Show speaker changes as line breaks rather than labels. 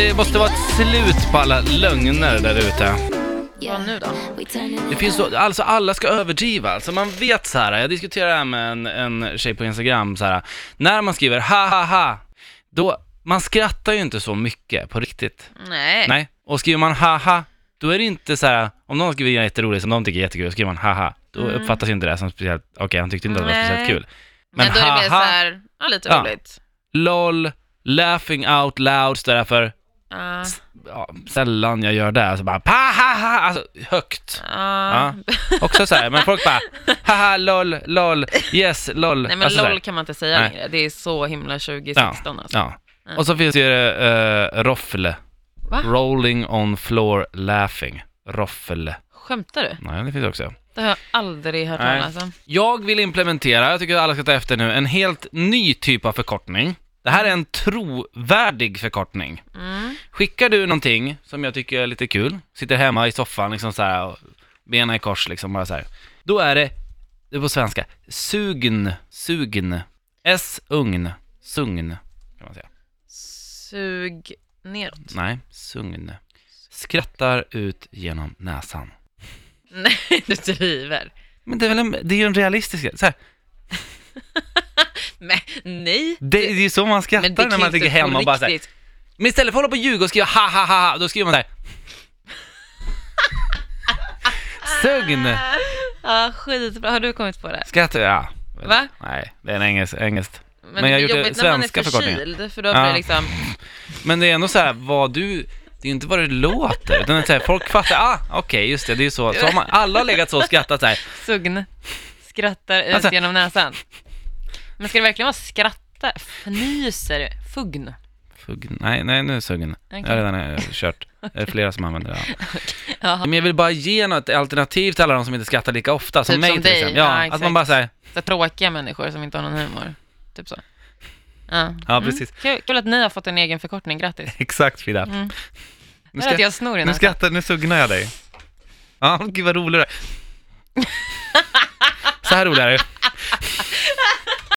Det måste vara ett slut på alla lögner där ute.
Vad nu då?
Det finns så, alltså alla ska överdriva. Alltså man vet så här, jag diskuterade det här med en, en tjej på Instagram så här. När man skriver ha ha ha, då, man skrattar ju inte så mycket på riktigt.
Nej.
Nej. Och skriver man ha ha, då är det inte så här, om någon skriver jätteroligt som de tycker är jättekul, skriver man ha ha, då uppfattas ju inte det som speciellt, okej han tyckte inte att det var
Mm. Nej.
speciellt kul.
Men,
Men
då är det
ha
mer så
ha,
här, ja lite
Ja.
roligt.
lol, laughing out loud står det för
Ja.
ja, sällan jag gör det. Alltså bara pa ha ha, alltså högt.
Ja.
Också så här, men folk bara haha lol, lol, yes, lol.
Nej men
alltså, så här.
LOL kan man inte säga
Nej.
längre. Det är så himla 2016 alltså.
Ja. Och så finns det ju uh, roffle.
Va?
Rolling on floor laughing. Roffle.
Skämtar du?
Nej, det finns också.
Det har jag aldrig hört
Nej.
om alltså.
Jag vill implementera, jag tycker att alla ska ta efter nu, en helt ny typ av förkortning. Det här är en trovärdig förkortning.
Mm.
Skickar du någonting som jag tycker är lite kul, sitter hemma i soffan liksom så här, och benen i kors liksom bara så här. Då är det, det är på svenska, sugn, sugn, s-ugn, sugn kan man säga.
Sug neråt.
Nej, sugn. Skrattar ut genom näsan.
Nej, du driver.
Men det är väl en, det är ju en realistisk så här,
Men, nej.
det, det är ju så man
Men det
skrattar när
kan
man
ju
ligger
inte
hemma
på
och bara så här,
riktigt.
Men istället för att hålla på och ljuga och skriva ha ha ha, ha, då skriver man så här. Sugn,
Ja, skitbra. Har du kommit på det?
skrattar ja.
Va?
Nej, det är en engelsk, engelskt. jag
Men, det
har
är
gjort det
jobbigt när man
svenska
är
förkortningen.
förkyld, för då
Ja.
blir det liksom...
Men det är ändå så här, vad du, det är inte vad det låter, utan det är så här, folk fattar, ah, okej, just det, det är ju så. så har man, alla har legat så och skrattat så här.
Sugn. Skrattar ut
Alltså-
genom näsan. Men ska det verkligen vara skratta? Fnyser? Fugn?
Fugg, nej, nej, nu är jag sugn. Jag har redan eh, kört. Det är flera som använder det. Ja.
Jaha.
Men jag vill bara ge något alternativ till alla de som inte skrattar lika ofta, som
Typ
mig
som
till
dig.
exempel. Ja,
Ja,
att
exakt.
man bara säger,
Så tråkiga människor som inte har någon humor. Typ så. Ja,
Ja, precis.
Mm. Kul, kul att ni har fått en egen förkortning, grattis.
exakt Frida. Nu
Mm. Nu
ska-
att jag snor i
Nu
näsan.
skrattar, nu sugnar jag dig. Ja, gud vad rolig du är. Så här rolig är du.